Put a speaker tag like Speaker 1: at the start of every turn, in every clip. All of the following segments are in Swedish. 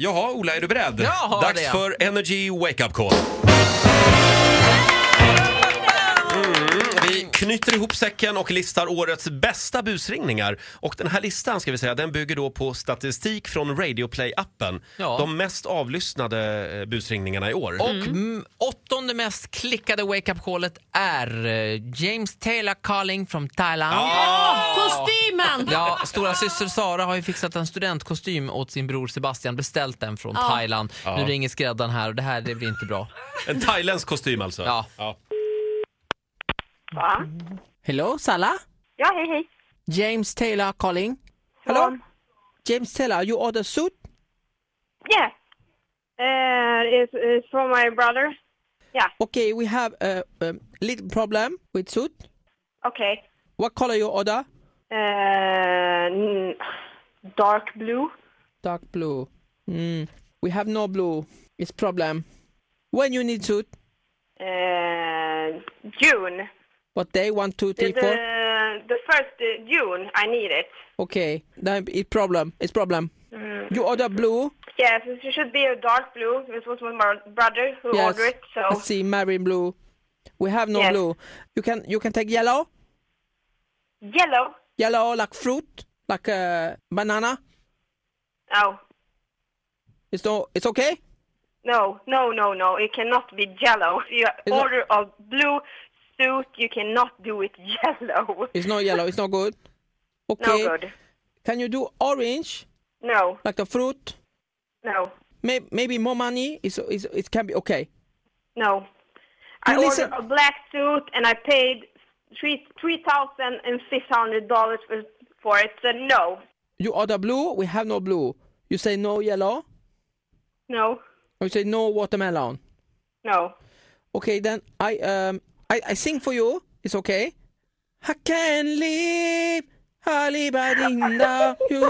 Speaker 1: Jaha, Ola, är du beredd?
Speaker 2: Jaha,
Speaker 1: Dags
Speaker 2: det är jag.
Speaker 1: för Energy Wake Up Call.
Speaker 2: Mm.
Speaker 1: Vi knyter ihop säcken och listar årets bästa busringningar. Och den här listan ska vi säga, den bygger då på statistik från Radioplay-appen.
Speaker 2: Ja.
Speaker 1: De mest avlyssnade eh, busringningarna i år.
Speaker 2: Och mm. åttonde mest klickade wake-up-callet är eh, James Taylor calling from Thailand.
Speaker 3: Åh, kostymen!
Speaker 2: Ja, stora syster Sara har ju fixat en studentkostym åt sin bror Sebastian, beställt den från
Speaker 3: Ja.
Speaker 2: Thailand. Nu ringer skräddaren här och det här det blir inte bra.
Speaker 1: En thailändsk kostym alltså.
Speaker 2: Ja.
Speaker 4: Va?
Speaker 5: Hello, Sala.
Speaker 4: Ja, hej, hej.
Speaker 5: James Taylor calling.
Speaker 4: Hello?
Speaker 5: James Taylor, you order suit?
Speaker 4: Yeah. Uh, it's, it's for my brother.
Speaker 5: Okay, we have a, a little problem with suit.
Speaker 4: Okay.
Speaker 5: What color you order?
Speaker 4: Uh, n- dark blue.
Speaker 5: Dark blue. Mm, we have no blue. It's problem. When you need suit?
Speaker 4: Uh, June.
Speaker 5: What day? One, two,
Speaker 4: The,
Speaker 5: three, four.
Speaker 4: the first uh, June, I need it.
Speaker 5: Okay, then it's problem. It's problem.
Speaker 4: Mm.
Speaker 5: You order blue?
Speaker 4: Yes, it should be a dark blue. This was my bro- brother who
Speaker 5: yes.
Speaker 4: ordered it,
Speaker 5: I
Speaker 4: so
Speaker 5: see marine blue. We have no
Speaker 4: Yes.
Speaker 5: blue. You can you can take yellow.
Speaker 4: yellow.
Speaker 5: Yellow like fruit, like a banana.
Speaker 4: Oh,
Speaker 5: It's no. It's okay.
Speaker 4: no, no, no, no. It cannot be yellow. You
Speaker 5: it-
Speaker 4: order a blue suit, you cannot do it yellow.
Speaker 5: It's not yellow. It's not good. Okay.
Speaker 4: No good.
Speaker 5: Can you do orange,
Speaker 4: No,
Speaker 5: like the fruit?
Speaker 4: no.
Speaker 5: May- maybe more money. It's, it's, it can be okay.
Speaker 4: No. I
Speaker 5: You listen-
Speaker 4: ordered a black suit and I paid three three thousand and six hundred dollars for for it. So no,
Speaker 5: You order blue. We have no blue. You say no yellow.
Speaker 4: no,
Speaker 5: Or you say no watermelon.
Speaker 4: no.
Speaker 5: Okay, then I um I, I sing for you. It's okay. I can live hardly by without you.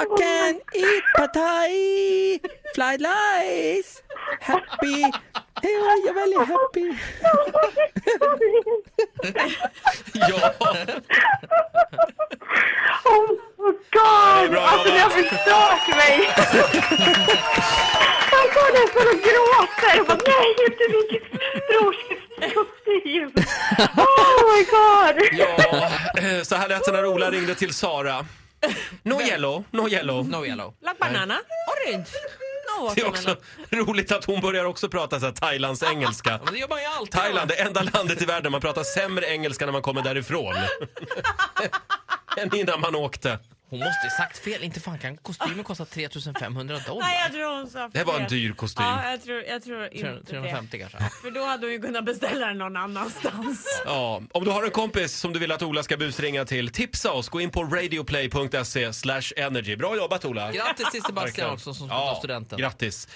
Speaker 5: I can eat pad thai, fried rice, happy. Hey, you're very happy.
Speaker 1: ja.
Speaker 4: Oh my god!
Speaker 1: bra
Speaker 4: alltså ni har förstört mig! My god, jag står och gråter! Jag bara, nej, inte min brors kostym! Oh my god!
Speaker 1: ja. Eh, Så här lät det när Ola ringde till Sara. No yellow, no yellow.
Speaker 2: No yellow.
Speaker 3: Like banana, orange. No
Speaker 1: Det är
Speaker 3: watermelon.
Speaker 1: också roligt att hon börjar också prata så här Thailands engelska.
Speaker 2: Men det gör man ju alltid.
Speaker 1: Thailand, det enda landet i världen man pratar sämre engelska när man kommer därifrån. Än innan man åkte.
Speaker 2: Hon måste ju sagt fel. Inte fan kan kostymen kosta 3500
Speaker 3: Nej,
Speaker 2: dollar.
Speaker 3: jag tror hon sa fel.
Speaker 1: Det var en dyr kostym.
Speaker 3: Ja, jag tror, jag tror inte det.
Speaker 2: 350 kanske.
Speaker 3: För då hade hon ju kunnat beställa den någon annanstans.
Speaker 1: Ja, om du har en kompis som du vill att Ola ska busringa till, tipsa oss. Gå in på radioplay.se slash energy. Bra jobbat Ola!
Speaker 2: Grattis till Sebastian
Speaker 1: Verkligen.
Speaker 2: också som ska ta studenten.
Speaker 1: Grattis!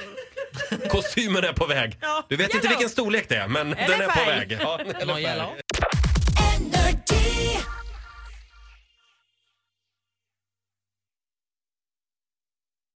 Speaker 1: Kostymen är på väg.
Speaker 3: Ja,
Speaker 1: Du vet inte
Speaker 3: yellow.
Speaker 1: vilken storlek det är, men
Speaker 3: Eller
Speaker 1: den är på
Speaker 3: färg.
Speaker 1: väg. Ja, eller
Speaker 2: Någon
Speaker 1: färg.
Speaker 2: yellow?